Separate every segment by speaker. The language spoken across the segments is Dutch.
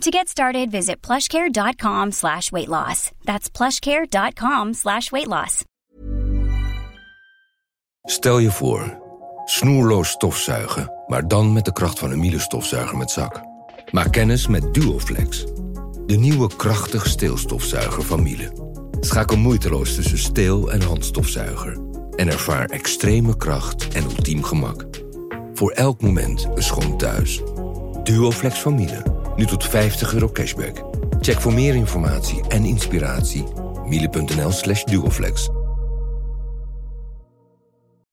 Speaker 1: To get started, visit plushcare.com slash weight loss. That's plushcare.com slash weight loss.
Speaker 2: Stel je voor, snoerloos stofzuigen, maar dan met de kracht van een Miele stofzuiger met zak. Maak kennis met Duoflex, de nieuwe krachtig steelstofzuiger van Miele. Schakel moeiteloos tussen steel- en handstofzuiger en ervaar extreme kracht en ultiem gemak. Voor elk moment een schoon thuis. Duoflex van Miele, nu tot 50 euro cashback. Check voor meer informatie en inspiratie miele.nl slash duoflex.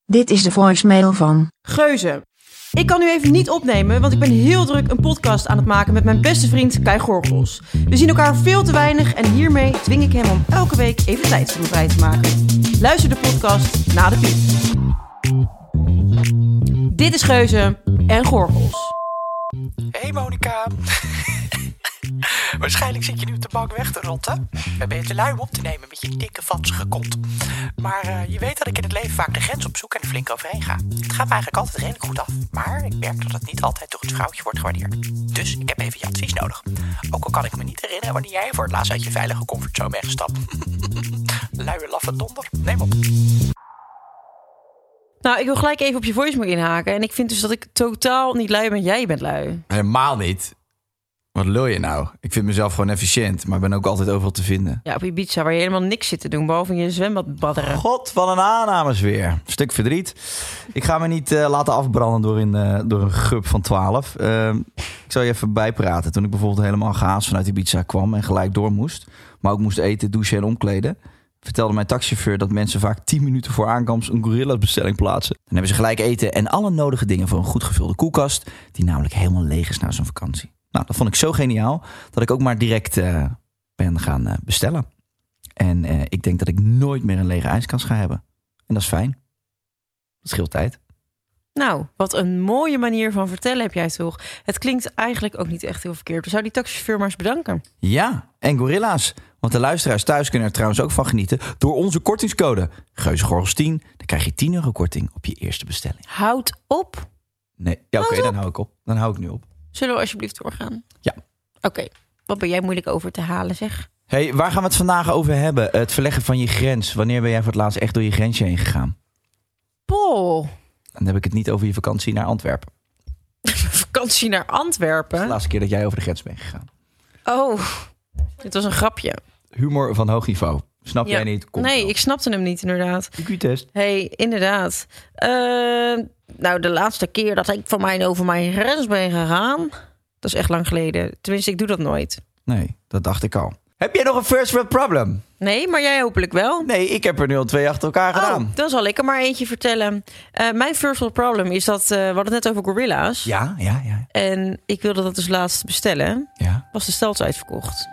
Speaker 3: Dit is de voicemail van.
Speaker 4: Geuze. Ik kan nu even niet opnemen, want ik ben heel druk een podcast aan het maken met mijn beste vriend Kai Gorgels. We zien elkaar veel te weinig en hiermee dwing ik hem om elke week even tijd voor me vrij te maken. Luister de podcast na de piep. Dit is Geuze en Gorgels.
Speaker 5: Hey Monica. Waarschijnlijk zit je nu op de bank weg te rotten. En ben je te lui om op te nemen met je dikke, vatsige kont. Maar eh, je weet dat ik in het leven vaak de grens op zoek en er flink overheen ga. Het gaat me eigenlijk altijd redelijk goed af. Maar ik merk dat het niet altijd door het vrouwtje wordt gewaardeerd. Dus ik heb even je advies nodig. Ook al kan ik me niet herinneren wanneer jij voor het laatst uit je veilige comfortzone bent gestapt. Luie laffe donder. Neem op.
Speaker 4: Nou, ik wil gelijk even op je voicemail inhaken. En ik vind dus dat ik totaal niet lui ben. Jij bent lui.
Speaker 6: Helemaal niet. Wat lul je nou? Ik vind mezelf gewoon efficiënt, maar ben ook altijd overal te vinden.
Speaker 4: Ja, op Ibiza, waar je helemaal niks zit te doen, behalve in je zwembad badderen.
Speaker 6: God, wat een aannames weer. Stuk verdriet. Ik ga me niet eh, laten afbranden door een, eh, door een gup van 12. Ehm, ik zal je even bijpraten. Toen ik bijvoorbeeld helemaal gehaast vanuit Ibiza kwam en gelijk door moest, maar ook moest eten, douchen en omkleden, vertelde mijn taxichauffeur dat mensen vaak 10 minuten voor aankomst een gorillabestelling plaatsen. Dan hebben ze gelijk eten en alle nodige dingen voor een goed gevulde koelkast, die namelijk helemaal leeg is na zo'n vakantie. Nou, dat vond ik zo geniaal dat ik ook maar direct eh, ben gaan eh, bestellen. En eh, ik denk dat ik nooit meer een lege ijskast ga hebben. En dat is fijn. Dat scheelt tijd.
Speaker 4: Nou, wat een mooie manier van vertellen heb jij toch? Het klinkt eigenlijk ook niet echt heel verkeerd. We zouden die taxichauffeur maar eens bedanken.
Speaker 6: Ja, en gorilla's. Want de luisteraars thuis kunnen er trouwens ook van genieten door onze kortingscode. Geuzegorgels 10. Dan krijg je 10 euro korting op je eerste bestelling.
Speaker 4: Houd op.
Speaker 6: Nee, ja, oké,
Speaker 4: Houd op.
Speaker 6: dan hou ik op. Dan hou ik nu op.
Speaker 4: Zullen we alsjeblieft doorgaan?
Speaker 6: Ja.
Speaker 4: Oké, wat ben jij moeilijk over te halen, zeg?
Speaker 6: hey, waar gaan we het vandaag over hebben? Het verleggen van je grens. Wanneer ben jij voor het laatst echt door je grensje heen gegaan?
Speaker 4: Pol,
Speaker 6: Dan heb ik het niet over je vakantie naar Antwerpen.
Speaker 4: vakantie naar
Speaker 6: Dat is de
Speaker 4: Antwerpen.
Speaker 6: laatste keer dat jij over de grens bent gegaan.
Speaker 4: Oh, dit was een grapje.
Speaker 6: Humor van hoog niveau. Snap jij niet? Komt
Speaker 4: nee,
Speaker 6: wel.
Speaker 4: ik snapte hem niet inderdaad.
Speaker 6: IQ-test.
Speaker 4: hey, inderdaad. Eh, nou, de laatste keer dat ik van mij over mijn grens ben gegaan... dat is echt lang geleden. Tenminste, ik doe dat nooit.
Speaker 6: Nee, dat dacht ik al. Heb jij nog een first world problem?
Speaker 4: Nee, maar jij hopelijk wel.
Speaker 6: Nee, ik heb er nu al twee achter elkaar gedaan.
Speaker 4: Oh, dan zal ik er maar eentje vertellen. Eh, mijn first world problem is dat... eh, we hadden het net over gorilla's.
Speaker 6: Ja, ja, ja.
Speaker 4: En ik wilde dat dus laatst bestellen.
Speaker 6: ja.
Speaker 4: Was de stelt uitverkocht.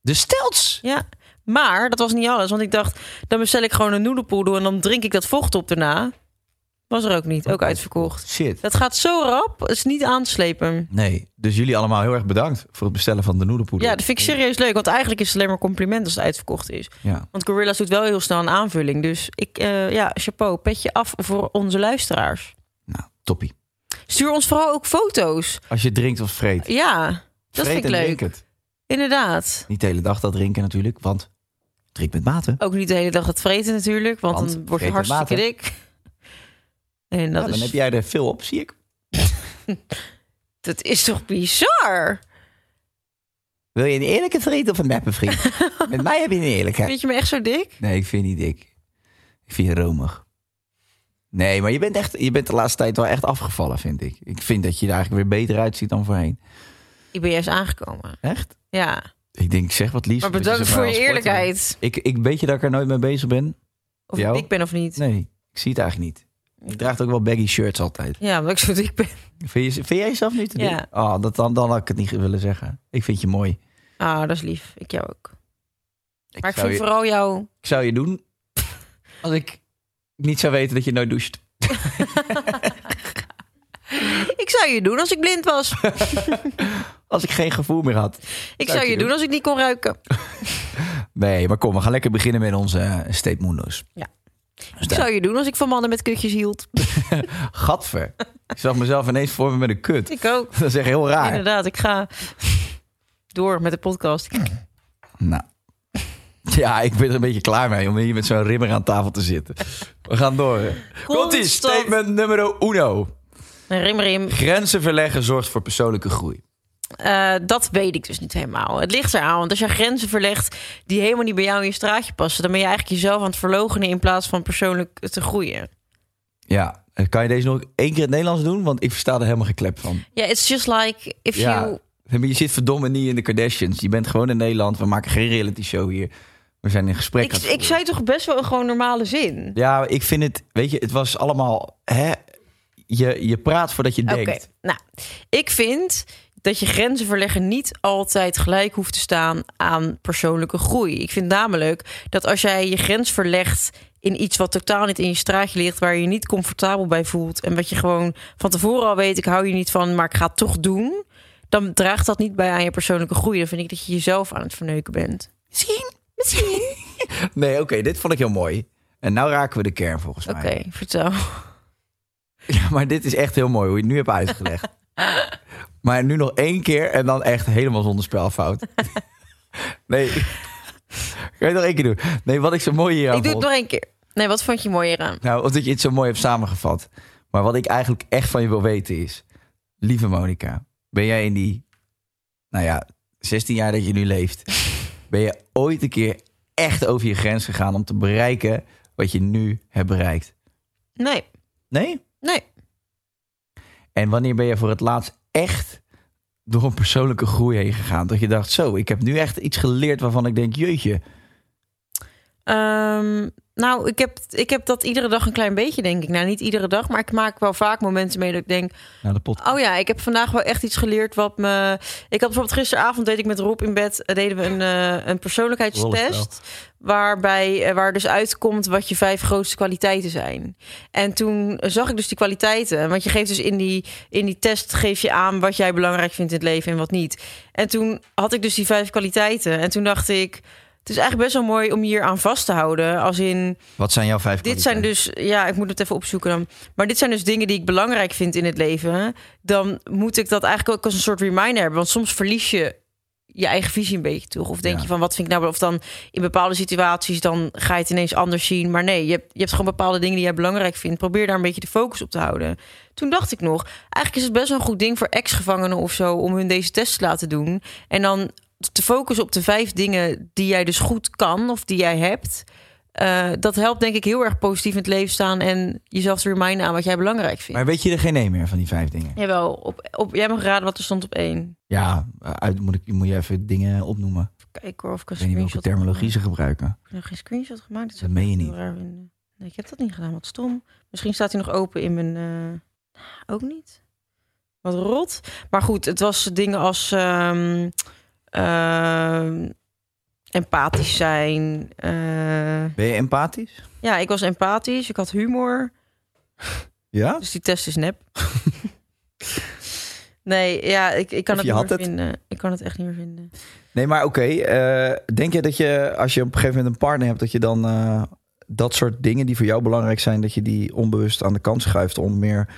Speaker 6: De stelts.
Speaker 4: Ja, maar dat was niet alles. Want ik dacht, dan bestel ik gewoon een noedelpoedel... en dan drink ik dat vocht op daarna. Was er ook niet. Ook uitverkocht.
Speaker 6: Shit.
Speaker 4: Dat gaat zo rap. Het is niet aan te slepen.
Speaker 6: Nee, dus jullie allemaal heel erg bedankt voor het bestellen van de noedelpoeder.
Speaker 4: Ja, dat vind ik serieus leuk. Want eigenlijk is het alleen maar compliment als het uitverkocht is.
Speaker 6: Ja.
Speaker 4: Want Gorilla's doet wel heel snel een aanvulling. Dus ik, eh, ja, chapeau, petje af voor onze luisteraars.
Speaker 6: Nou, toppie.
Speaker 4: Stuur ons vooral ook foto's.
Speaker 6: Als je drinkt of vreet.
Speaker 4: Ja, Oh, dat
Speaker 6: vreet
Speaker 4: vind ik
Speaker 6: en
Speaker 4: leuk.
Speaker 6: drink het.
Speaker 4: Inderdaad.
Speaker 6: Niet de hele dag dat drinken natuurlijk, want drink met mate.
Speaker 4: Ook niet de hele dag het vreten natuurlijk, want,
Speaker 6: Want
Speaker 4: dan word je
Speaker 6: vreten
Speaker 4: hartstikke
Speaker 6: maten.
Speaker 4: dik. En dat,
Speaker 6: Ja, dan
Speaker 4: is,
Speaker 6: heb jij er veel op, zie ik.
Speaker 4: dat is toch bizar?
Speaker 6: Wil je een eerlijke vriend of een neppe vriend? met mij heb je een eerlijke.
Speaker 4: Vind je me echt zo dik?
Speaker 6: Nee, ik vind je niet dik. Ik vind je romig. Nee, maar je bent, echt, je bent de laatste tijd wel echt afgevallen, vind ik. Ik vind dat je er eigenlijk weer beter uitziet dan voorheen.
Speaker 4: Ik ben juist aangekomen.
Speaker 6: Echt?
Speaker 4: Ja,
Speaker 6: Ik denk, ik zeg wat liefst.
Speaker 4: maar
Speaker 6: want je
Speaker 4: bedankt
Speaker 6: zit
Speaker 4: voor
Speaker 6: wel
Speaker 4: je
Speaker 6: als sporter.
Speaker 4: eerlijkheid.
Speaker 6: Ik, ik weet je dat ik er nooit mee bezig ben?
Speaker 4: Of
Speaker 6: Jou?
Speaker 4: ik dik ben of niet.
Speaker 6: Nee, ik zie het eigenlijk niet. Ik draag ook wel baggy shirts altijd.
Speaker 4: Ja, omdat ik zo dik ben.
Speaker 6: Vind, je, vind jij jezelf niet te dik?
Speaker 4: Ja.
Speaker 6: Oh, dat, dan, dan had ik het niet willen zeggen. Ik vind je mooi.
Speaker 4: Ah, dat is lief. Ik jou ook.
Speaker 6: Ik
Speaker 7: Maar ik
Speaker 6: zou
Speaker 7: vind
Speaker 6: je-
Speaker 7: vooral jou...
Speaker 6: ik zou je doen als ik niet zou weten dat je nooit doucht.
Speaker 7: Ik zou je doen als ik blind was.
Speaker 6: Als ik geen gevoel meer had.
Speaker 7: Ik zou je doen als ik niet kon ruiken.
Speaker 6: Nee, maar kom, we gaan lekker beginnen met onze eh, State Mundo's.
Speaker 7: Ja.
Speaker 6: Dus
Speaker 7: Ik
Speaker 6: daar-
Speaker 7: zou je doen als ik van mannen met kutjes hield.
Speaker 6: Gadver. Ik zag mezelf ineens voor me met een kut.
Speaker 7: Ik ook.
Speaker 6: Dat is echt heel raar.
Speaker 7: Inderdaad, ik ga door met de podcast.
Speaker 6: Nou. Ja, ik ben er een beetje klaar mee om hier met zo'n rimmer aan tafel te zitten. We gaan door. Komt-ie,
Speaker 7: Constant.
Speaker 6: statement nummer uno.
Speaker 7: Rim, rim.
Speaker 6: Grenzen verleggen zorgt voor persoonlijke groei.
Speaker 7: Eh, dat weet ik dus niet helemaal. Het ligt eraan, want als je grenzen verlegt die helemaal niet bij jou in je straatje passen, dan ben je eigenlijk jezelf aan het verlogenen in plaats van persoonlijk te groeien.
Speaker 6: Ja, eh, kan je deze nog één keer in het Nederlands doen? Want ik versta er helemaal geklept van. eh,
Speaker 7: Ja, it's just like if you.
Speaker 6: Je zit verdomme niet in de Kardashians. Je bent gewoon in Nederland. We maken geen reality show hier. We zijn in gesprek.
Speaker 7: Ik,
Speaker 6: aan het
Speaker 7: ik zei toch best wel een gewoon normale zin.
Speaker 6: Ja, ik vind het, weet je, het was allemaal, hè, je, je praat voordat je
Speaker 7: Oké,
Speaker 6: denkt.
Speaker 7: nou, ik vind dat je grenzen verleggen niet altijd gelijk hoeft te staan aan persoonlijke groei. Ik vind namelijk dat als jij je grens verlegt in iets wat totaal niet in je straatje ligt, waar je je niet comfortabel bij voelt en wat je gewoon van tevoren al weet, ik hou je niet van, maar ik ga het toch doen, dan draagt dat niet bij aan je persoonlijke groei. Dan vind ik dat je jezelf aan het verneuken bent.
Speaker 6: Misschien, misschien. nee, oké, dit vond ik heel mooi. En nou raken we de kern volgens
Speaker 7: Oké,
Speaker 6: mij.
Speaker 7: vertel.
Speaker 6: Ja, maar dit is echt heel mooi hoe je het nu hebt uitgelegd. maar nu nog één keer en dan echt helemaal zonder spelfout. nee. Kan je het nog één keer doen? Nee, wat ik zo mooi hier aan
Speaker 7: ik doe het
Speaker 6: vond-
Speaker 7: nog één keer. Nee, wat vond je mooi eraan?
Speaker 6: Nou, omdat je het zo mooi hebt samengevat. Maar wat ik eigenlijk echt van je wil weten is... Lieve Monica, ben jij in die... Nou ja, 16 jaar dat je nu leeft... ben je ooit een keer echt over je grens gegaan... om te bereiken wat je nu hebt bereikt?
Speaker 7: Nee,
Speaker 6: Nee?
Speaker 7: nee.
Speaker 6: En wanneer ben je voor het laatst echt door een persoonlijke groei heen gegaan? Dat je dacht, zo, ik heb nu echt iets geleerd waarvan ik denk... jeetje,
Speaker 7: Ehm, nou, ik heb, ik heb dat iedere dag een klein beetje, denk ik. Nou, niet iedere dag, maar ik maak wel vaak momenten mee dat ik denk...
Speaker 6: nou de pot.
Speaker 7: oh ja, ik heb vandaag wel echt iets geleerd wat me... Ik had bijvoorbeeld gisteravond, deed ik met Rob in bed... eh, deden we een, eh, een
Speaker 6: Rollenspel.
Speaker 7: persoonlijkheidstest... waarbij eh, waar dus uitkomt wat je vijf grootste kwaliteiten zijn. En toen zag ik dus die kwaliteiten. Want je geeft dus in die, in die test geef je aan wat jij belangrijk vindt in het leven en wat niet. En toen had ik dus die vijf kwaliteiten. En toen dacht ik... Het is eigenlijk best wel mooi om je hier aan vast te houden. Als in,
Speaker 6: Wat zijn jouw vijf
Speaker 7: dit zijn
Speaker 6: kwaliteiten?
Speaker 7: dus, ja, ik moet het even opzoeken dan. Maar dit zijn dus dingen die ik belangrijk vind in het leven. Dan moet ik dat eigenlijk ook als een soort reminder hebben. Want soms verlies je je eigen visie een beetje toch? Of denk
Speaker 6: Ja.
Speaker 7: je van, wat vind ik nou... Of dan in bepaalde situaties, dan ga je het ineens anders zien. Maar nee, je hebt, je hebt gewoon bepaalde dingen die jij belangrijk vindt. Probeer daar een beetje de focus op te houden. Toen dacht ik nog, eigenlijk is het best wel een goed ding voor ex-gevangenen of zo... om hun deze test te laten doen. En dan te focussen op de vijf dingen die jij dus goed kan of die jij hebt... Eh, dat helpt denk ik heel erg positief in het leven staan... en jezelf te reminden aan wat jij belangrijk vindt.
Speaker 6: Maar weet je er geen nee meer van die vijf dingen?
Speaker 7: Jawel, op, op, jij mag raden wat er stond op één.
Speaker 6: Ja, uit, moet, ik, moet je even dingen opnoemen.
Speaker 7: Kijk hoor, of ik een
Speaker 6: Ik weet niet welke
Speaker 7: screenshot heb.
Speaker 6: terminologie ze gebruiken.
Speaker 7: Ik heb nog geen screenshot gemaakt. dus Dat,
Speaker 6: Dat
Speaker 7: zou
Speaker 6: meen je
Speaker 7: ik
Speaker 6: niet.
Speaker 7: heel raar vinden. Nee, ik heb dat niet gedaan, wat stom. Misschien staat hij nog open in mijn... eh, Ook niet. Wat rot. Maar goed, het was dingen als... ehm, ehm, empathisch zijn. eh,
Speaker 6: Ben je empathisch?
Speaker 7: ja, ik was empathisch. Ik had humor.
Speaker 6: Ja?
Speaker 7: Dus die test is nep. nee, ja, ik, ik kan
Speaker 6: Of
Speaker 7: het
Speaker 6: je
Speaker 7: niet meer
Speaker 6: had het.
Speaker 7: vinden. Ik kan het echt niet meer vinden.
Speaker 6: Nee, maar oké. eh, denk je dat je, als je op een gegeven moment een partner hebt, dat je dan eh, dat soort dingen die voor jou belangrijk zijn, dat je die onbewust aan de kant schuift om meer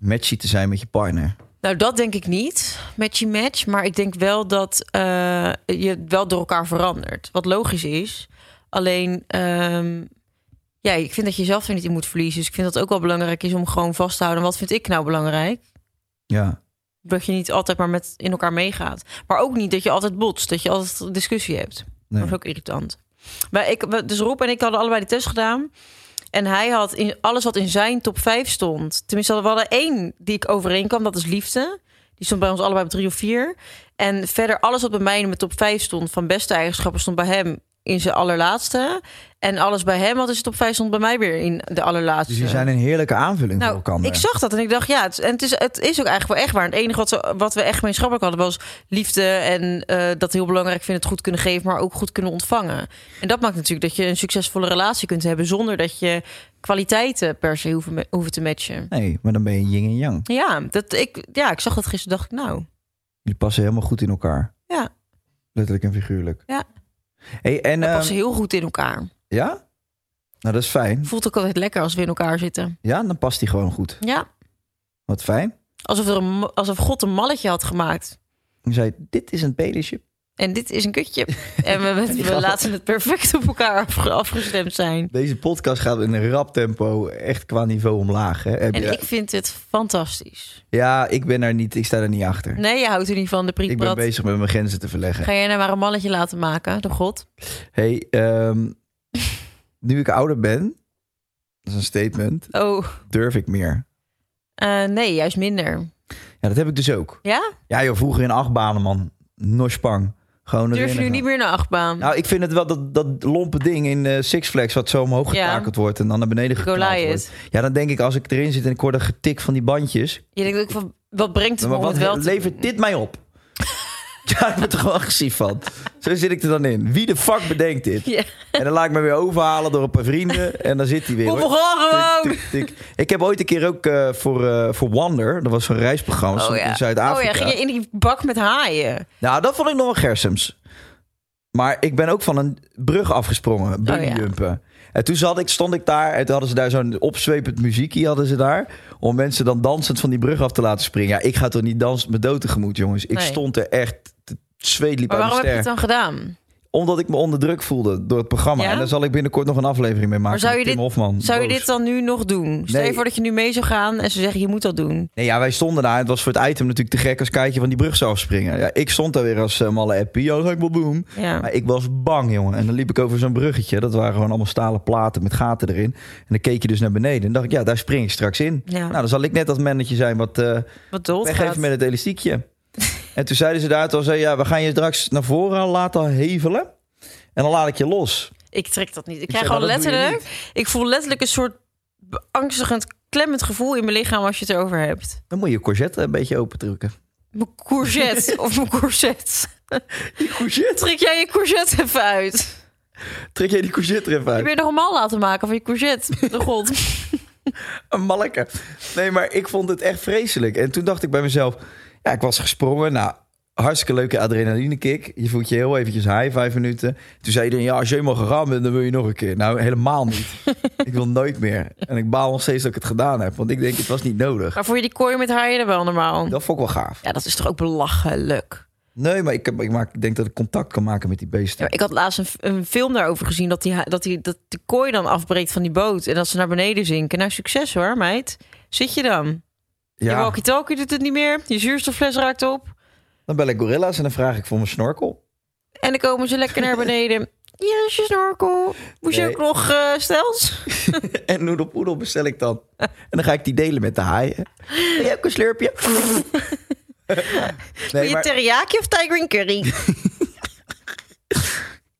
Speaker 6: matchy te zijn met je partner?
Speaker 7: Nou, dat denk ik niet. Matchy match. Maar ik denk wel dat eh, je wel door elkaar verandert. Wat logisch is. Alleen, ehm, ja, ik vind dat je jezelf er niet in moet verliezen. Dus ik vind dat het ook wel belangrijk is om gewoon vast te houden. Wat vind ik nou belangrijk?
Speaker 6: Ja.
Speaker 7: Dat je niet altijd maar met in elkaar meegaat. Maar ook niet dat je altijd botst. Dat je altijd discussie hebt.
Speaker 6: Nee.
Speaker 7: Dat is ook irritant. Maar ik, we- dus Rob en ik hadden allebei de test gedaan. En hij had in, alles wat in zijn top 5 stond. Tenminste, we hadden één die ik overeen kwam. Dat is liefde. Die stond bij ons allebei op drie of vier. En verder alles wat bij mij in mijn top 5 stond... van beste eigenschappen stond bij hem in zijn allerlaatste. En alles bij hem, wat is het op vijf, stond bij mij weer in de allerlaatste.
Speaker 6: Dus die zijn een heerlijke aanvulling voor
Speaker 7: nou,
Speaker 6: elkaar.
Speaker 7: ik zag dat en ik dacht, ja, het, en het, is, het is ook eigenlijk wel echt waar. Het enige wat, ze- wat we echt gemeenschappelijk hadden was liefde en eh, dat heel belangrijk vinden, het goed kunnen geven, maar ook goed kunnen ontvangen. En dat maakt natuurlijk dat je een succesvolle relatie kunt hebben zonder dat je kwaliteiten per se hoeven, me- hoeven te matchen.
Speaker 6: Nee, maar dan ben je yin en yang.
Speaker 7: Ja, dat, ik, ja, ik zag dat gisteren, dacht ik, nou,
Speaker 6: Jullie passen helemaal goed in elkaar.
Speaker 7: Ja.
Speaker 6: Letterlijk en figuurlijk.
Speaker 7: Ja.
Speaker 6: Hey, en,
Speaker 7: dat
Speaker 6: ehm,
Speaker 7: past heel goed in elkaar.
Speaker 6: ja? Nou, dat is fijn.
Speaker 7: Voelt ook altijd lekker als we in elkaar zitten.
Speaker 6: Ja, dan past die gewoon goed.
Speaker 7: Ja,
Speaker 6: Wat fijn.
Speaker 7: alsof, er een, ma- alsof God een malletje had gemaakt.
Speaker 6: Je zei, dit is een penisje.
Speaker 7: En dit is een kutje. En we, we, we laten het perfect op elkaar afge- afgestemd zijn.
Speaker 6: Deze podcast gaat in een rap tempo echt qua niveau omlaag. Hè? Heb
Speaker 7: En
Speaker 6: je-
Speaker 7: ik vind het fantastisch.
Speaker 6: Ja, ik ben daar niet, ik sta daar niet achter.
Speaker 7: Nee, je houdt er niet van de
Speaker 6: ik ben
Speaker 7: prikbrat.
Speaker 6: bezig met mijn grenzen te verleggen.
Speaker 7: Ga jij nou maar een malletje laten maken, de god?
Speaker 6: Hey, ehm, nu ik ouder ben, dat is een statement,
Speaker 7: Oh,
Speaker 6: durf ik meer.
Speaker 7: eh, nee, juist minder.
Speaker 6: Ja, dat heb ik dus ook.
Speaker 7: Ja?
Speaker 6: Ja joh, vroeger in achtbanen man. Nospang. Gewoon
Speaker 7: Durf je
Speaker 6: erin
Speaker 7: nu
Speaker 6: en
Speaker 7: niet
Speaker 6: gaan.
Speaker 7: meer in de achtbaan?
Speaker 6: Nou, ik vind het wel dat, dat lompe ding in eh, Six Flags... wat zo omhoog
Speaker 7: Ja.
Speaker 6: getakeld wordt en dan naar beneden geknald
Speaker 7: Goliath.
Speaker 6: wordt. Ja, dan denk ik als ik erin zit en ik hoor dat getik van die bandjes...
Speaker 7: je denkt ook van, wat brengt het
Speaker 6: maar
Speaker 7: me om
Speaker 6: wat
Speaker 7: het wel te
Speaker 6: levert
Speaker 7: doen?
Speaker 6: dit mij op? ja, ik word er gewoon agressief van. Zo zit ik er dan in. Wie de fuck bedenkt dit?
Speaker 7: Ja.
Speaker 6: En dan laat ik me weer overhalen door een paar vrienden. En dan zit hij weer.
Speaker 7: Kom
Speaker 6: hoor.
Speaker 7: gewoon gewoon!
Speaker 6: Tik, tik, tik. Ik heb ooit een keer ook eh, voor, eh, voor Wander, dat was zo'n reisprogramma stond in
Speaker 7: Oh
Speaker 6: Zuid-Afrika.
Speaker 7: ja, ging je in die bak met haaien?
Speaker 6: Nou, dat vond ik nog wel gersems. Maar ik ben ook van een brug
Speaker 7: Oh,
Speaker 6: afgesprongen, bunnyjumpen. En toen zat ik, stond ik daar en toen hadden ze daar zo'n opzwepend muziekje hadden ze daar... om mensen dan dansend van die brug af te laten springen. Ja, ik ga toch niet dansen met dood tegemoet, jongens. Ik
Speaker 7: Nee.
Speaker 6: stond er echt, het zweet liep
Speaker 7: Maar
Speaker 6: uit
Speaker 7: waarom heb je
Speaker 6: mijn
Speaker 7: het
Speaker 6: ster.
Speaker 7: dan gedaan?
Speaker 6: Omdat ik me onder druk voelde door het programma.
Speaker 7: Ja?
Speaker 6: En daar zal ik binnenkort nog een aflevering mee maken
Speaker 7: Maar zou je
Speaker 6: met Tim
Speaker 7: dit-
Speaker 6: Hofman.
Speaker 7: Zou je
Speaker 6: Boos.
Speaker 7: dit dan nu nog doen? Stel je
Speaker 6: Nee.
Speaker 7: voor dat je nu mee zou gaan en ze zeggen je moet dat doen.
Speaker 6: Nee, ja, wij stonden daar. Het was voor het item natuurlijk te gek als kijkje van die brug zou afspringen. Ja, ik stond daar weer als eh, malle appie. Ja, dat ga ik wel doen.
Speaker 7: Ja.
Speaker 6: Maar ik was bang, jongen. En dan liep ik over zo'n bruggetje. Dat waren gewoon allemaal stalen platen met gaten erin. En dan keek je dus naar beneden. En dacht ik, ja, daar spring ik straks in.
Speaker 7: Ja.
Speaker 6: Nou, dan zal ik net dat mannetje zijn wat eh
Speaker 7: Wat dood
Speaker 6: weggeeft met het elastiekje. en toen zeiden ze daar, toen zei ja, we gaan je straks naar voren laten hevelen. En dan laat ik je los.
Speaker 7: Ik trek dat niet. Ik,
Speaker 6: Ik
Speaker 7: krijg
Speaker 6: zeg,
Speaker 7: gewoon
Speaker 6: nou, dat doe je
Speaker 7: letterlijk... Ik voel letterlijk een soort beangstigend, klemmend gevoel in mijn lichaam als je het erover hebt.
Speaker 6: Dan moet je je courgette een beetje opentrukken.
Speaker 7: Mijn courgette of mijn corset.
Speaker 6: Die courgette?
Speaker 7: Trek jij je courgette even uit.
Speaker 6: Trek jij die courgette er even uit?
Speaker 7: Heb je nog een mal laten maken van je courgette? De god.
Speaker 6: Een malleke. Nee, maar ik vond het echt vreselijk. En toen dacht ik bij mezelf, ja, ik was gesprongen. Nou, hartstikke leuke adrenalinekick. Je voelt je heel eventjes high, vijf minuten. Toen zei iedereen, ja, als je helemaal gegaan bent, dan wil je nog een keer. Nou, helemaal niet. ik wil nooit meer. En ik baal nog steeds dat ik het gedaan heb. Want ik denk, het was niet nodig.
Speaker 7: Maar voor je die kooi met haaien dan wel normaal?
Speaker 6: Dat vond ik wel gaaf.
Speaker 7: Ja, dat is toch ook belachelijk?
Speaker 6: Nee, maar ik, heb, ik, maak, ik denk dat ik contact kan maken met die
Speaker 7: Ja,
Speaker 6: beesten.
Speaker 7: maar ik had laatst een, f- een film daarover gezien dat, die, ha- dat, die, dat de kooi dan afbreekt van die boot en dat ze naar beneden zinken. Nou, succes hoor, meid. Zit je dan? Je
Speaker 6: Ja,
Speaker 7: walkie-talkie doet het niet meer. Je zuurstoffles raakt op.
Speaker 6: dan bel ik gorilla's en dan vraag ik voor mijn snorkel.
Speaker 7: En dan komen ze lekker naar beneden. Ja, is je snorkel. Moest je
Speaker 6: Nee.
Speaker 7: ook nog eh, stels?
Speaker 6: En noedelpoedel bestel ik dan. En dan ga ik die delen met de haaien. Wil jij ook een slurpje?
Speaker 7: Wil
Speaker 6: nee,
Speaker 7: je
Speaker 6: maar,
Speaker 7: teriyaki of tiger in curry?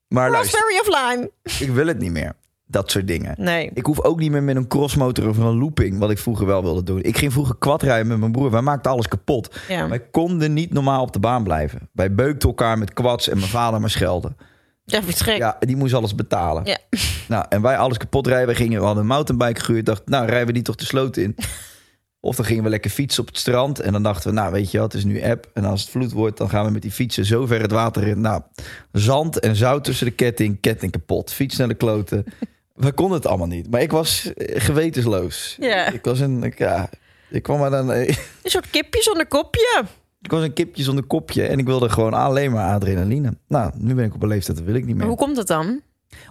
Speaker 6: maar luister,
Speaker 7: Raspberry of lime?
Speaker 6: ik wil het niet meer. Dat soort dingen.
Speaker 7: Nee.
Speaker 6: Ik hoef ook niet meer met een crossmotor of een looping, wat ik vroeger wel wilde doen. Ik ging vroeger kwadrijden met mijn broer. Wij maakten alles kapot.
Speaker 7: Ja.
Speaker 6: Wij konden niet normaal op de baan blijven. Wij beukten elkaar met kwads en mijn vader me schelden.
Speaker 7: Dat is gek.
Speaker 6: Ja, die moest alles betalen.
Speaker 7: Ja.
Speaker 6: Nou, en wij alles kapot rijden. We, gingen, we hadden een mountainbike gehuurd. Dacht, nou, rijden we die toch de sloot in? Of dan gingen we lekker fietsen op het strand. En dan dachten we, nou, weet je wat, het is nu app. En als het vloed wordt, dan gaan we met die fietsen zo ver het water in. Nou, zand en zout tussen de ketting. Ketting kapot. Fiets naar de kloten. We konden het allemaal niet. Maar ik was eh, gewetensloos.
Speaker 7: Ja.
Speaker 6: Ik was een, ik, ja, ik kwam maar dan...
Speaker 7: Een soort kipje zonder kopje.
Speaker 6: Ik was een kipje zonder kopje. En ik wilde gewoon alleen maar adrenaline. Nou, nu ben ik op een leeftijd, dat wil ik niet meer
Speaker 7: Maar hoe komt dat dan?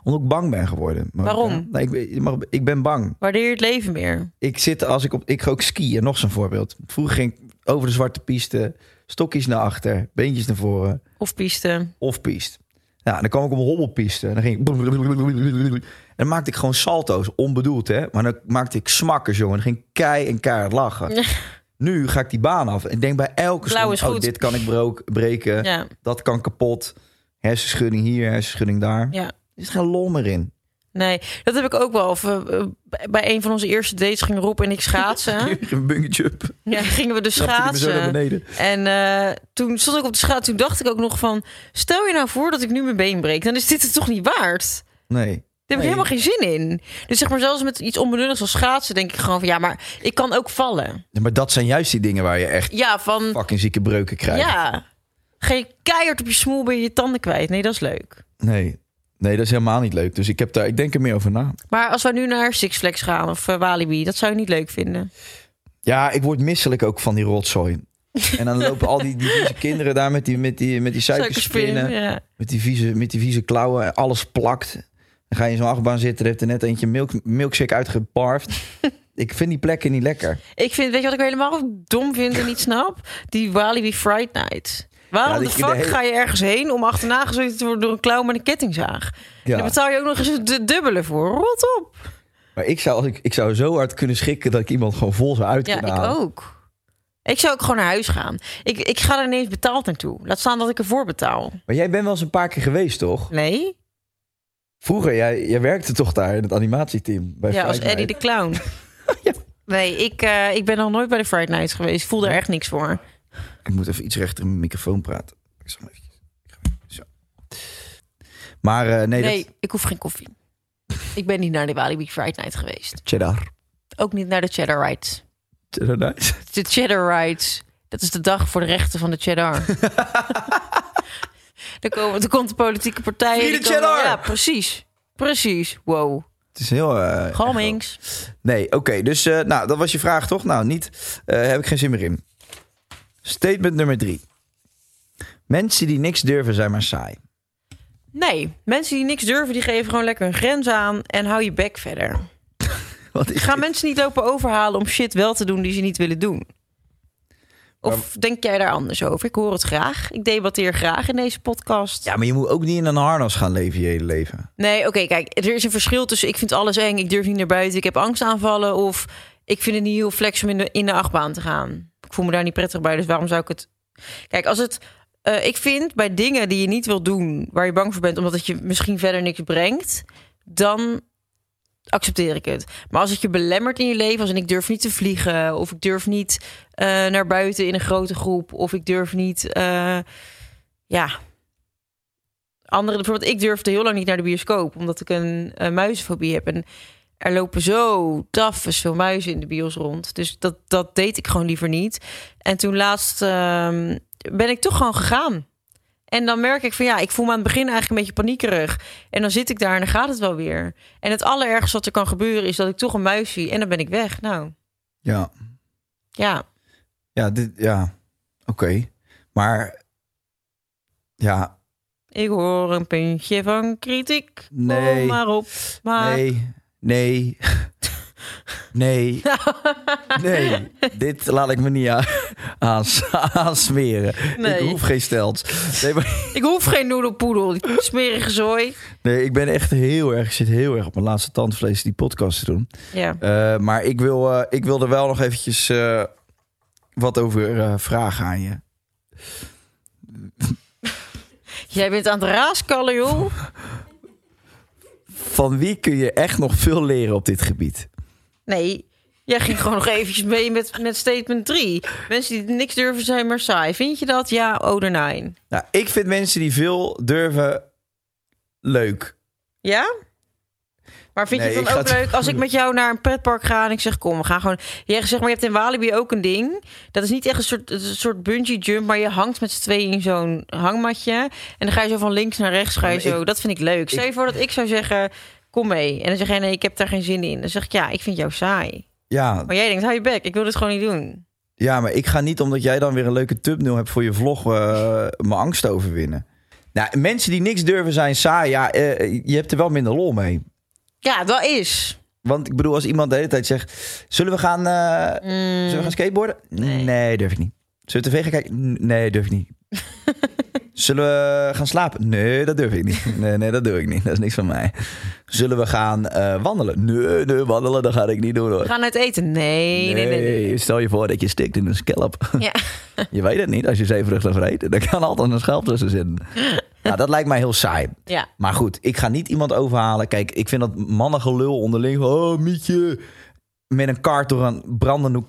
Speaker 6: omdat ik bang ben geworden. Maar-
Speaker 7: Waarom?
Speaker 6: Nou, ik, ben- je mag- ik ben bang.
Speaker 7: Waardeer je het leven meer?
Speaker 6: Ik zit als ik op. Ik ga ook skiën. Nog zo'n voorbeeld. Vroeger ging ik over de zwarte piste. Stokjes naar achter. Beentjes naar voren.
Speaker 7: Of piste?
Speaker 6: Of piste. Nou, dan kwam ik op een hobbelpiste. En dan ging ik. En dan maakte ik gewoon salto's. Onbedoeld, hè? Maar dan maakte ik smakkers, jongen. Dan ging ik kei en keihard lachen. Nu ga ik die baan af. En denk bij elke
Speaker 7: Blauw is
Speaker 6: slag, Oh,
Speaker 7: goed.
Speaker 6: dit kan ik brook- breken.
Speaker 7: Ja.
Speaker 6: Dat kan kapot. Hersenschudding hier, hersenschudding daar.
Speaker 7: ja.
Speaker 6: Er is geen lol meer in.
Speaker 7: Nee, dat heb ik ook wel. Of eh, eh, bij een van onze eerste dates ging Rob en ik schaatsen.
Speaker 6: Een bungetje up.
Speaker 7: Ja, gingen we dus schaatsen.
Speaker 6: beneden.
Speaker 7: En eh, toen stond ik op de schaats. Toen dacht ik ook nog van... Stel je nou voor dat ik nu mijn been breek. Dan is dit het toch niet waard?
Speaker 6: Nee.
Speaker 7: Daar heb ik
Speaker 6: Nee.
Speaker 7: helemaal geen zin in. Dus zeg maar zelfs met iets onbenulligs als schaatsen... denk ik gewoon van... Ja, maar ik kan ook vallen.
Speaker 6: Ja, maar dat zijn juist die dingen waar je echt
Speaker 7: Ja, van...
Speaker 6: fucking zieke breuken krijgt.
Speaker 7: Ja. Geen keihard op je smoel ben je je tanden kwijt. Nee, dat is leuk.
Speaker 6: Nee. Nee, dat is helemaal niet leuk. Dus ik, heb daar, ik denk er meer over na.
Speaker 7: Maar als we nu naar Six Flags gaan of eh, Walibi... dat zou je niet leuk vinden.
Speaker 6: Ja, ik word misselijk ook van die rotzooi. En dan lopen al die, die vieze kinderen daar met die, met die, met die suikerspinnen.
Speaker 7: Ja.
Speaker 6: Met die vieze, met die vieze klauwen, en alles plakt. Dan ga je in zo'n achtbaan zitten, er heeft er net eentje milk, milkshake uitgebarfd. ik vind die plekken niet lekker.
Speaker 7: Ik vind, weet je wat ik helemaal dom vind en niet snap? Die Walibi Friday Night. Waarom
Speaker 6: Ja,
Speaker 7: de
Speaker 6: die-
Speaker 7: fuck
Speaker 6: de hele-
Speaker 7: ga je ergens heen om achterna gezeten te worden door een clown met een kettingzaag? En daar betaal je ook nog eens de dubbele voor. Rot op.
Speaker 6: Maar ik zou, als ik, ik zou zo hard kunnen schikken dat ik iemand gewoon vol zou uit
Speaker 7: Ja,
Speaker 6: kunnen
Speaker 7: ik
Speaker 6: halen.
Speaker 7: ook. Ik zou ook gewoon naar huis gaan. Ik, ik ga er ineens betaald naartoe. Laat staan dat ik ervoor betaal.
Speaker 6: Maar jij bent wel eens een paar keer geweest, toch?
Speaker 7: Nee?
Speaker 6: Vroeger, jij, jij werkte toch daar in het animatieteam? Bij
Speaker 7: Ja, als
Speaker 6: Friday
Speaker 7: Eddie de
Speaker 6: Night?
Speaker 7: clown. Nee, ik, eh, ik ben nog nooit bij de Friday Night geweest. Ik voel daar echt niks voor.
Speaker 6: Ik moet even iets rechter in mijn microfoon praten. Ik zal hem eventjes- ik ga hem- Zo. Maar eh, nee,
Speaker 7: Nee,
Speaker 6: dat...
Speaker 7: ik hoef geen koffie. Ik ben niet naar de Walibi Friday Night geweest.
Speaker 6: Cheddar.
Speaker 7: Ook niet naar de Cheddar Rides.
Speaker 6: Cheddar Night.
Speaker 7: De Cheddar Rides. Dat is de dag voor de rechten van de cheddar. dan, komen, dan komt de politieke partij.
Speaker 6: Free
Speaker 7: die
Speaker 6: the
Speaker 7: komen-
Speaker 6: cheddar!
Speaker 7: Ja, precies. Precies. Wow.
Speaker 6: Het is heel... eh,
Speaker 7: Galmings.
Speaker 6: Nee, oké. dus eh, nou, dat was je vraag toch? Nou, niet. eh, heb ik geen zin meer in. Statement nummer drie. Mensen die niks durven zijn maar saai.
Speaker 7: Nee, mensen die niks durven, die geven gewoon lekker een grens aan en hou je bek verder.
Speaker 6: Wat is
Speaker 7: Ga
Speaker 6: dit?
Speaker 7: mensen niet lopen overhalen om shit wel te doen die ze niet willen doen. Of denk jij daar anders over? Ik hoor het graag. Ik debatteer graag in deze podcast.
Speaker 6: Ja, maar je moet ook niet in een harnas gaan leven je hele leven.
Speaker 7: Nee, oké, kijk, er is een verschil tussen ik vind alles eng, ik durf niet naar buiten, ik heb angstaanvallen of ik vind het niet heel flex om in de, in de achtbaan te gaan. Ik voel me daar niet prettig bij, dus waarom zou ik het... Kijk, als het... eh, ik vind bij dingen die je niet wil doen, waar je bang voor bent, omdat het je misschien verder niks brengt, dan accepteer ik het. Maar als het je belemmert in je leven, als in ik durf niet te vliegen, of ik durf niet eh, naar buiten in een grote groep, of ik durf niet, eh, ja, anderen, bijvoorbeeld, ik durfde heel lang niet naar de bioscoop, omdat ik een, eh, muizenfobie heb. En er lopen zo taffes veel muizen in de bios rond. Dus dat, dat deed ik gewoon liever niet. En toen laatst ehm, ben ik toch gewoon gegaan. En dan merk ik van ja, ik voel me aan het begin eigenlijk een beetje paniekerig. En dan zit ik daar en dan gaat het wel weer. En het allerergste wat er kan gebeuren is dat ik toch een muis zie en dan ben ik weg. Nou,
Speaker 6: Ja,
Speaker 7: ja.
Speaker 6: ja, dit, ja. Oké. Maar ja,
Speaker 7: Ik hoor een puntje van kritiek.
Speaker 6: Nee.
Speaker 7: Kom maar op. Maar...
Speaker 6: nee, nee, nee, nee. Dit laat ik me niet aan, aan, aansmeren.
Speaker 7: Nee.
Speaker 6: Ik hoef geen stelt. Nee, maar
Speaker 7: Ik hoef geen noedelpoedel. Die Smerige zooi.
Speaker 6: Nee, ik ben echt heel erg, ik zit heel erg op mijn laatste tandvlees die podcast te doen.
Speaker 7: Ja.
Speaker 6: Eh, maar ik wil, eh, ik wil er wel nog eventjes eh, wat over eh, vragen aan je.
Speaker 7: Jij bent aan het raaskallen, joh.
Speaker 6: Van wie kun je echt nog veel leren op dit gebied?
Speaker 7: Nee, jij ging gewoon nog eventjes mee met, met statement 3. Mensen die niks durven zijn maar saai. Vind je dat? Ja, oh, oder nee?
Speaker 6: Nou, ik vind mensen die veel durven leuk.
Speaker 7: Ja? Maar vind je
Speaker 6: Nee,
Speaker 7: het
Speaker 6: ik
Speaker 7: dan
Speaker 6: ga
Speaker 7: ook
Speaker 6: het-
Speaker 7: leuk als ik met jou naar een pretpark ga en ik zeg kom, we gaan gewoon... Jij zegt maar je hebt in Walibi ook een ding. Dat is niet echt een soort, het is een soort bungee jump, maar je hangt met z'n tweeën in zo'n hangmatje. En dan ga je zo van links naar rechts, ga je
Speaker 6: Ja, maar
Speaker 7: zo.
Speaker 6: ik-
Speaker 7: dat vind ik leuk. Stel je voor dat ik zou zeggen, kom mee. En dan zeg jij nee, ik heb daar geen zin in. Dan zeg ik ja, ik vind jou saai.
Speaker 6: Ja,
Speaker 7: Maar jij denkt, hou je bek, ik wil dit gewoon niet doen.
Speaker 6: ja, maar ik ga niet omdat jij dan weer een leuke thumbnail hebt voor je vlog eh, mijn angst te overwinnen. Nou, mensen die niks durven zijn saai. Ja, eh, je hebt er wel minder lol mee.
Speaker 7: Ja, dat is.
Speaker 6: Want ik bedoel, als iemand de hele tijd zegt... Zullen we gaan, eh, zullen we gaan skateboarden? Nee. durf ik niet. Zullen we tv gaan kijken? N- Nee, durf ik niet. Zullen we gaan slapen? Nee, dat durf ik niet. Nee, nee, dat doe ik niet. Dat is niks van mij. Zullen we gaan eh, wandelen? Nee, nee, wandelen, dat ga ik niet doen
Speaker 7: We
Speaker 6: hoor.
Speaker 7: gaan uit eten. Nee, nee, nee. nee.
Speaker 6: stel je voor dat je stikt in een scalp.
Speaker 7: Ja.
Speaker 6: Je weet het niet, als je zeevrugten vreet. Er kan altijd een schelp tussen zitten. Nou, dat lijkt mij heel saai.
Speaker 7: Ja.
Speaker 6: Maar goed, ik ga niet iemand overhalen. Kijk, ik vind dat mannengelul onderling. van, Oh, Mietje. Met een kaart door een brandende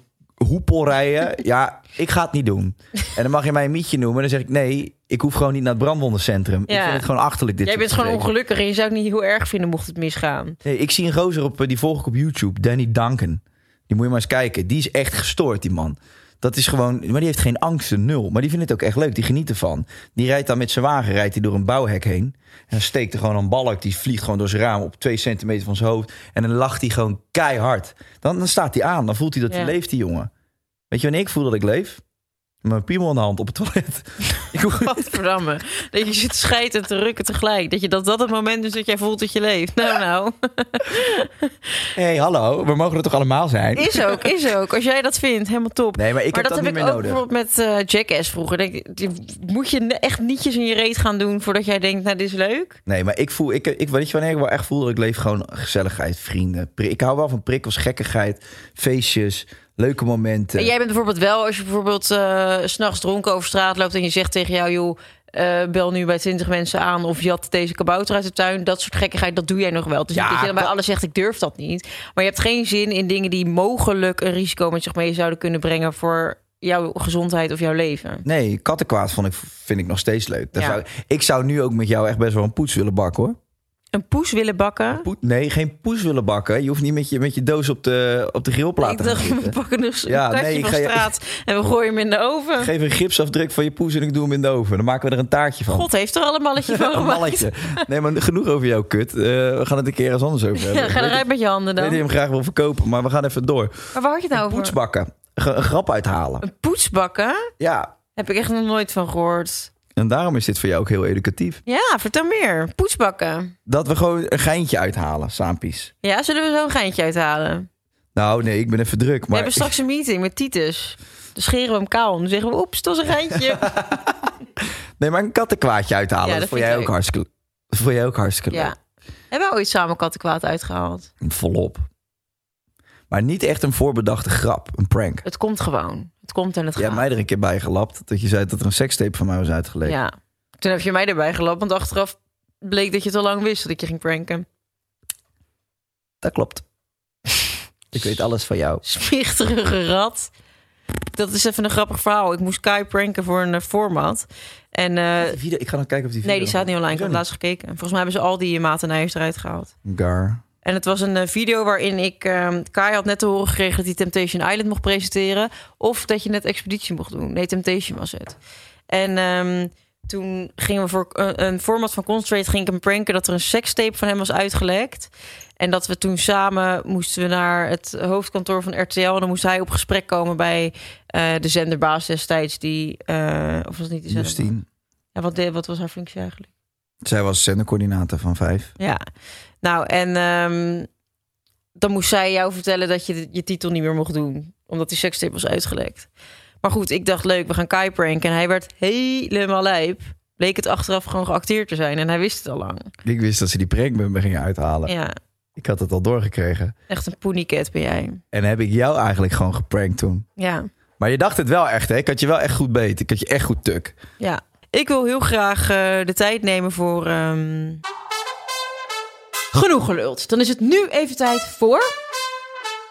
Speaker 6: hoepel rijden. Ja, ik ga het niet doen. En dan mag je mij een Mietje noemen. Dan zeg ik nee, ik hoef gewoon niet naar het brandwondencentrum. Ik
Speaker 7: Ja.
Speaker 6: vind het gewoon achterlijk dit
Speaker 7: Jij
Speaker 6: soort
Speaker 7: bent gewoon
Speaker 6: gezeik.
Speaker 7: ongelukkig en je zou het niet heel erg vinden mocht het misgaan.
Speaker 6: Nee, ik zie een gozer op, eh, die volg ik op YouTube, Danny Duncan. Die moet je maar eens kijken. Die is echt gestoord, die man. Dat is gewoon, maar die heeft geen angsten, nul. Maar die vindt het ook echt leuk, die geniet ervan. Die rijdt dan met zijn wagen, rijdt hij door een bouwhek heen. En dan steekt er gewoon een balk, die vliegt gewoon door zijn raam op twee centimeter van zijn hoofd. En dan lacht hij gewoon keihard. Dan, dan staat hij aan, dan voelt hij dat hij
Speaker 7: Ja.
Speaker 6: leeft, die jongen. Weet je wanneer ik voel dat ik leef? Met Mijn piemel in de hand op het toilet. ik, hoef-
Speaker 7: Godverdamme. Dat je zit scheiden en te rukken tegelijk. Dat, je, dat dat het moment is dat jij voelt dat je leeft. Nou, nou.
Speaker 6: Hé, hey, hallo, we mogen er toch allemaal zijn?
Speaker 7: Is ook, is ook. Als jij dat vindt, helemaal top.
Speaker 6: Nee, maar ik
Speaker 7: maar
Speaker 6: heb
Speaker 7: dat
Speaker 6: dat,
Speaker 7: heb
Speaker 6: niet
Speaker 7: ik
Speaker 6: meer
Speaker 7: ook
Speaker 6: nodig.
Speaker 7: bijvoorbeeld met eh, Jackass vroeger. Denk, ik, die- moet je ne- echt nietjes in je reet gaan doen voordat jij denkt, nou, dit is leuk?
Speaker 6: Nee, maar ik voel, ik, ik weet je wanneer ik wel echt voel dat ik leef gewoon gezelligheid, vrienden. Pri- Ik hou wel van prikkels, gekkigheid, feestjes, leuke momenten.
Speaker 7: En jij bent bijvoorbeeld wel, als je bijvoorbeeld eh, 's s'nachts dronken over straat loopt en je zegt tegen jou, joh, eh, bel nu bij 20 mensen aan of jat deze kabouter uit de tuin. Dat soort gekkigheid, dat doe jij nog wel. Dus
Speaker 6: Ja,
Speaker 7: niet dat je dan bij
Speaker 6: dat-
Speaker 7: alles zegt, ik durf dat niet. Maar je hebt geen zin in dingen die mogelijk een risico met zich mee zouden kunnen brengen voor jouw gezondheid of jouw leven.
Speaker 6: Nee, kattenkwaad vond ik, vind ik nog steeds leuk. Daar
Speaker 7: Ja.
Speaker 6: zou, ik zou nu ook met jou echt best wel een poets willen bakken hoor.
Speaker 7: Een poes willen bakken.
Speaker 6: Poet- nee, geen poes willen bakken. Je hoeft niet met je, met je doos op de, op de grillplaat
Speaker 7: Ik
Speaker 6: te gaan
Speaker 7: dacht, we
Speaker 6: zitten.
Speaker 7: pakken dus een
Speaker 6: Ja,
Speaker 7: katje
Speaker 6: nee, ik
Speaker 7: van
Speaker 6: ga je-
Speaker 7: straat en we gooien hem in de oven.
Speaker 6: Geef een gipsafdruk van je poes en ik doe hem in de oven. Dan maken we er een taartje van.
Speaker 7: God heeft er al een malletje van
Speaker 6: een
Speaker 7: gemaakt.
Speaker 6: malletje. Nee, maar genoeg over jouw kut. Eh, we gaan het een keer eens anders over hebben.
Speaker 7: Ja, ga
Speaker 6: Ik weet
Speaker 7: eruit met je handen
Speaker 6: dat- ik weet dat
Speaker 7: dan.
Speaker 6: je hem graag wil verkopen, maar we gaan even door.
Speaker 7: Maar waar had je het nou over?
Speaker 6: Poetsbakken. Ge- een grap uithalen.
Speaker 7: Een poetsbakken?
Speaker 6: Ja,
Speaker 7: Heb ik echt nog nooit van gehoord.
Speaker 6: en daarom is dit voor jou ook heel educatief.
Speaker 7: Ja, vertel meer. Poetsbakken.
Speaker 6: Dat we gewoon een geintje uithalen, saampies.
Speaker 7: Ja, zullen we zo een geintje uithalen?
Speaker 6: Nou, nee, ik ben even druk. Maar
Speaker 7: We hebben straks een meeting met Titus. Dan scheren we hem kaal en dan zeggen we, oeps, dat is een geintje.
Speaker 6: Nee, maar een kattenkwaadje uithalen.
Speaker 7: Ja,
Speaker 6: dat
Speaker 7: dat
Speaker 6: vond
Speaker 7: vind
Speaker 6: jij
Speaker 7: ik
Speaker 6: ook
Speaker 7: leuk.
Speaker 6: hartstikke Dat vond jij ook hartstikke
Speaker 7: ja. Hebben we ooit samen kattenkwaad uitgehaald?
Speaker 6: leuk. Volop. Maar niet echt een voorbedachte grap, een prank.
Speaker 7: Het komt gewoon. Het komt en het
Speaker 6: Jij hebt
Speaker 7: gaat.
Speaker 6: mij er een keer bij gelapt dat je zei dat er een sekstape van mij was uitgelekt.
Speaker 7: Ja. Toen heb je mij erbij gelapt, want achteraf bleek dat je het al lang wist dat ik je ging pranken.
Speaker 6: Dat klopt. ik weet alles van jou.
Speaker 7: Spichterige rat. Dat is even een grappig verhaal. Ik moest Kai pranken voor een eh, format. En eh,
Speaker 6: Die video- ik ga nog kijken of die
Speaker 7: nee,
Speaker 6: video-
Speaker 7: die staat niet online. Ik
Speaker 6: Hoezo
Speaker 7: heb laatst gekeken. Volgens mij hebben ze al die maten en eruit gehaald.
Speaker 6: niet? Gar.
Speaker 7: En het was een eh, video waarin ik... ehm Kai had net te horen gekregen dat hij Temptation Island mocht presenteren. Of dat je net Expeditie mocht doen. Nee, Temptation was het. En ehm, toen gingen we voor een- een format van Concentrate... ging ik hem pranken dat er een sekstape van hem was uitgelekt. En dat we toen samen moesten we naar het hoofdkantoor van RTL. En dan moest hij op gesprek komen bij eh, de zenderbaas destijds. Die, eh, of was het niet de zenderbaas?
Speaker 6: Justine.
Speaker 7: Ja, wat, deed- wat was haar functie eigenlijk?
Speaker 6: Zij was zendercoördinator van vijf.
Speaker 7: Ja, nou en ehm, dan moest zij jou vertellen dat je je titel niet meer mocht doen, omdat die sekstip was uitgelekt. Maar goed, ik dacht leuk, we gaan Kai pranken. En hij werd helemaal lijp. Bleek het achteraf gewoon geacteerd te zijn en hij wist het al lang.
Speaker 6: Ik wist dat ze die prank met me gingen uithalen.
Speaker 7: Ja,
Speaker 6: Ik had het al doorgekregen.
Speaker 7: echt een ponycat ben jij.
Speaker 6: En heb ik jou eigenlijk gewoon geprankt toen.
Speaker 7: Ja,
Speaker 6: Maar je dacht het wel echt, hè? Ik had je wel echt goed beet. Ik had je echt goed tuk.
Speaker 7: ja. Ik wil heel graag eh, de tijd nemen voor... ehm, Genoeg geluld. Dan is het nu even tijd voor...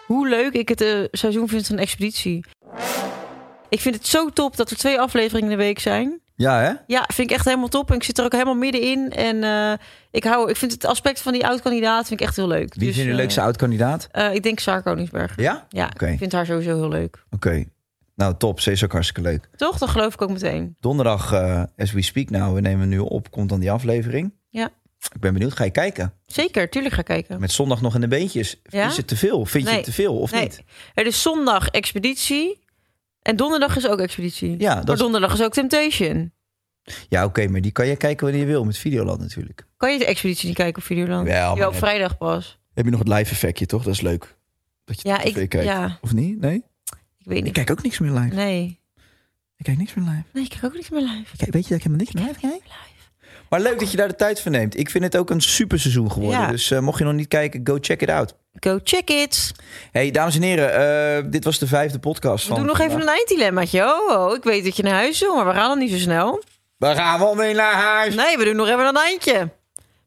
Speaker 7: Hoe leuk ik het eh, seizoen vind van Expeditie. Ik vind het zo top dat er twee afleveringen in de week zijn.
Speaker 6: Ja, hè?
Speaker 7: Ja, vind ik echt helemaal top. En ik zit er ook helemaal middenin. En eh, ik, hou, ik vind het aspect van die oud-kandidaat vind ik echt heel leuk.
Speaker 6: Wie is
Speaker 7: Dus,
Speaker 6: jullie
Speaker 7: eh,
Speaker 6: leukste oud-kandidaat?
Speaker 7: eh, ik denk Saar Koningsberg.
Speaker 6: Ja?
Speaker 7: Ja,
Speaker 6: Oké.
Speaker 7: ik vind haar sowieso heel leuk.
Speaker 6: Oké. Nou, top. Ze is ook hartstikke leuk.
Speaker 7: Toch? Dat geloof ik ook meteen.
Speaker 6: Donderdag, eh, as we speak nou, we nemen nu op, komt dan die aflevering.
Speaker 7: Ja.
Speaker 6: Ik ben benieuwd, ga je kijken?
Speaker 7: Zeker, tuurlijk ga ik kijken.
Speaker 6: Met zondag nog in de beentjes.
Speaker 7: Ja?
Speaker 6: Is het te veel? Vind je
Speaker 7: Nee.
Speaker 6: het te veel of
Speaker 7: nee.
Speaker 6: niet?
Speaker 7: Er is zondag expeditie. En donderdag is ook expeditie.
Speaker 6: Ja, dat
Speaker 7: maar
Speaker 6: is-
Speaker 7: donderdag is ook Temptation.
Speaker 6: Ja, oké, maar die kan je kijken wanneer je wil, met Videoland natuurlijk.
Speaker 7: Kan je de expeditie niet kijken op Videoland?
Speaker 6: Wel, maar
Speaker 7: Jawel, op
Speaker 6: net-
Speaker 7: vrijdag pas.
Speaker 6: Heb je nog het live effectje, toch? Dat is leuk. Dat je
Speaker 7: Ja,
Speaker 6: op tv
Speaker 7: ik,
Speaker 6: kijkt.
Speaker 7: ja,
Speaker 6: Of niet? Nee?
Speaker 7: ik weet
Speaker 6: Ik
Speaker 7: niet.
Speaker 6: kijk ook niks meer live.
Speaker 7: Nee.
Speaker 6: Ik kijk niks meer live.
Speaker 7: Nee, ik krijg ook niks meer live.
Speaker 6: Kijk, weet je dat ik helemaal niks meer live kijk? Maar leuk dat je daar de tijd voor neemt. Ik vind het ook een super seizoen geworden.
Speaker 7: Ja.
Speaker 6: Dus eh, mocht je nog niet kijken, go check it out.
Speaker 7: Go check it.
Speaker 6: Hey, dames en heren, eh, dit was de vijfde podcast
Speaker 7: We
Speaker 6: van...
Speaker 7: doen nog even
Speaker 6: vandaag.
Speaker 7: een einddilemmaatje. Oh, oh, ik weet dat je naar huis wil, maar we gaan dan niet zo snel.
Speaker 6: We gaan wel mee naar huis.
Speaker 7: Nee, we doen nog even een eindje.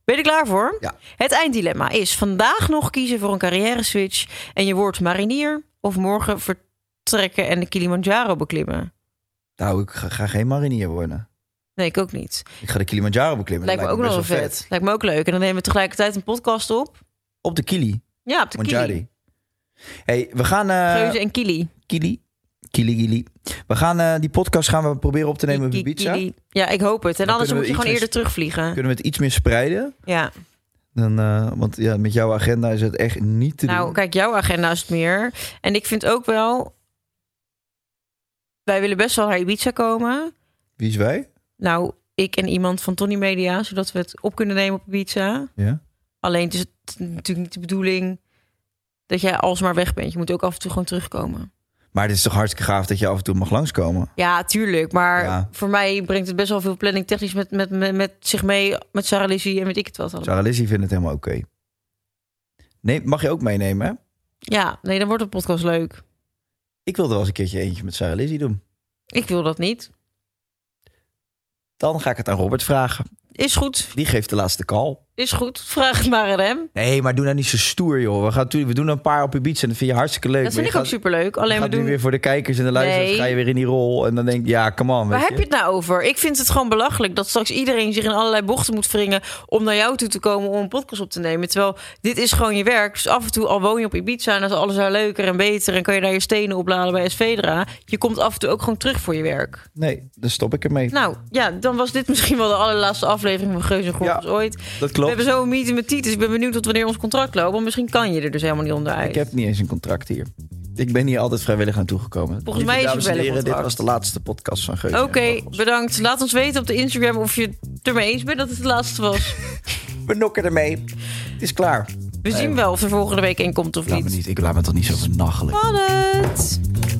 Speaker 7: Ben je er klaar voor?
Speaker 6: Ja.
Speaker 7: Het einddilemma is vandaag nog kiezen voor een carrière switch en je wordt marinier of morgen vertrekken en de Kilimanjaro beklimmen.
Speaker 6: Nou, ik ga, ga geen marinier worden.
Speaker 7: Nee, ik ook niet.
Speaker 6: Ik ga de Kilimanjaro beklimmen.
Speaker 7: Lijkt me
Speaker 6: dat
Speaker 7: ook nog wel
Speaker 6: lijkt me
Speaker 7: vet.
Speaker 6: best
Speaker 7: Lijkt me ook leuk. En dan nemen we tegelijkertijd een podcast op.
Speaker 6: Op de Kili.
Speaker 7: Ja, op de Kili.
Speaker 6: Manjari. hey, we gaan... eh,
Speaker 7: Geuze en Kili.
Speaker 6: Kili. Kili, Kili. We gaan eh, die podcast gaan we proberen op te nemen op
Speaker 7: Ki-
Speaker 6: Ibiza.
Speaker 7: Kili. Ja, ik hoop het. En
Speaker 6: Dan
Speaker 7: anders
Speaker 6: kunnen
Speaker 7: moet
Speaker 6: we
Speaker 7: je gewoon
Speaker 6: iets met-
Speaker 7: eerder terugvliegen.
Speaker 6: Kunnen we het iets meer spreiden?
Speaker 7: Ja.
Speaker 6: Dan, eh, want ja, met jouw agenda is het echt niet te
Speaker 7: Nou,
Speaker 6: doen.
Speaker 7: kijk, jouw agenda is het meer. En ik vind ook wel... Wij willen best wel naar Ibiza komen.
Speaker 6: Wie is wij?
Speaker 7: Nou, ik en iemand van Tony Media, zodat we het op kunnen nemen op Ibiza.
Speaker 6: Ja.
Speaker 7: Alleen het is het natuurlijk niet de bedoeling dat jij alsmaar weg bent. Je moet ook af en toe gewoon terugkomen.
Speaker 6: Maar het is toch hartstikke gaaf dat je af en toe mag langskomen.
Speaker 7: Ja, tuurlijk. Maar
Speaker 6: Ja.
Speaker 7: voor mij brengt het best wel veel planning technisch met, met, met, met zich mee. Met Sarah Lizzie en met ik het wat allemaal.
Speaker 6: Sarah Lizzie vindt het helemaal oké. Nee, mag je ook meenemen, hè?
Speaker 7: Ja, nee, dan wordt de podcast leuk.
Speaker 6: Ik wilde wel eens een keertje eentje met Sarah Lizzie doen.
Speaker 7: Ik wil dat niet.
Speaker 6: Dan ga ik het aan Robert vragen.
Speaker 7: Is goed.
Speaker 6: Die geeft de laatste call.
Speaker 7: Is goed. Vraag het maar aan hem.
Speaker 6: Nee, maar doe nou niet zo stoer, joh. We, gaan, natuurlijk- we doen een paar op Ibiza en dat vind je hartstikke leuk.
Speaker 7: Dat
Speaker 6: Maar
Speaker 7: vind
Speaker 6: je
Speaker 7: ik
Speaker 6: gaat-
Speaker 7: ook superleuk.
Speaker 6: je
Speaker 7: Alleen we
Speaker 6: gaat nu
Speaker 7: doen...
Speaker 6: weer voor de kijkers en de luisteraars
Speaker 7: Nee.
Speaker 6: ga je weer in die rol. En dan denk je, ja, come on.
Speaker 7: Waar
Speaker 6: weet
Speaker 7: heb je het nou over? Ik vind het gewoon belachelijk dat straks iedereen zich in allerlei bochten moet wringen om naar jou toe te komen om een podcast op te nemen. Terwijl dit is gewoon je werk. Dus af en toe al woon je op Ibiza en dan is alles daar leuker en beter en kan je daar je stenen opladen bij Svedra. Je komt af en toe ook gewoon terug voor je werk.
Speaker 6: Nee, dan stop ik ermee.
Speaker 7: Nou ja, dan was dit misschien wel de allerlaatste aflevering van Geuze en Gorgels
Speaker 6: Ja,
Speaker 7: ooit.
Speaker 6: dat
Speaker 7: We
Speaker 6: klopt.
Speaker 7: hebben zo een meeting met Titus. Ik ben benieuwd tot wanneer ons contract loopt. Want misschien kan je er dus helemaal niet onderuit.
Speaker 6: Ik heb niet eens een contract hier. Ik ben hier altijd vrijwillig aan toegekomen.
Speaker 7: Volgens mij is
Speaker 6: dames
Speaker 7: er
Speaker 6: en
Speaker 7: wel een
Speaker 6: heren, dit
Speaker 7: contract.
Speaker 6: was de laatste podcast van Geuze.
Speaker 7: Oké,
Speaker 6: en Gorgels.
Speaker 7: bedankt. Laat ons weten op de Instagram of je het ermee eens bent dat het de laatste was.
Speaker 6: We nokken ermee. Het is klaar.
Speaker 7: We zien wel of er volgende week in komt of
Speaker 6: Laat me
Speaker 7: niet.
Speaker 6: niet. Ik laat me toch niet zo vernachelijk.
Speaker 7: Spannend!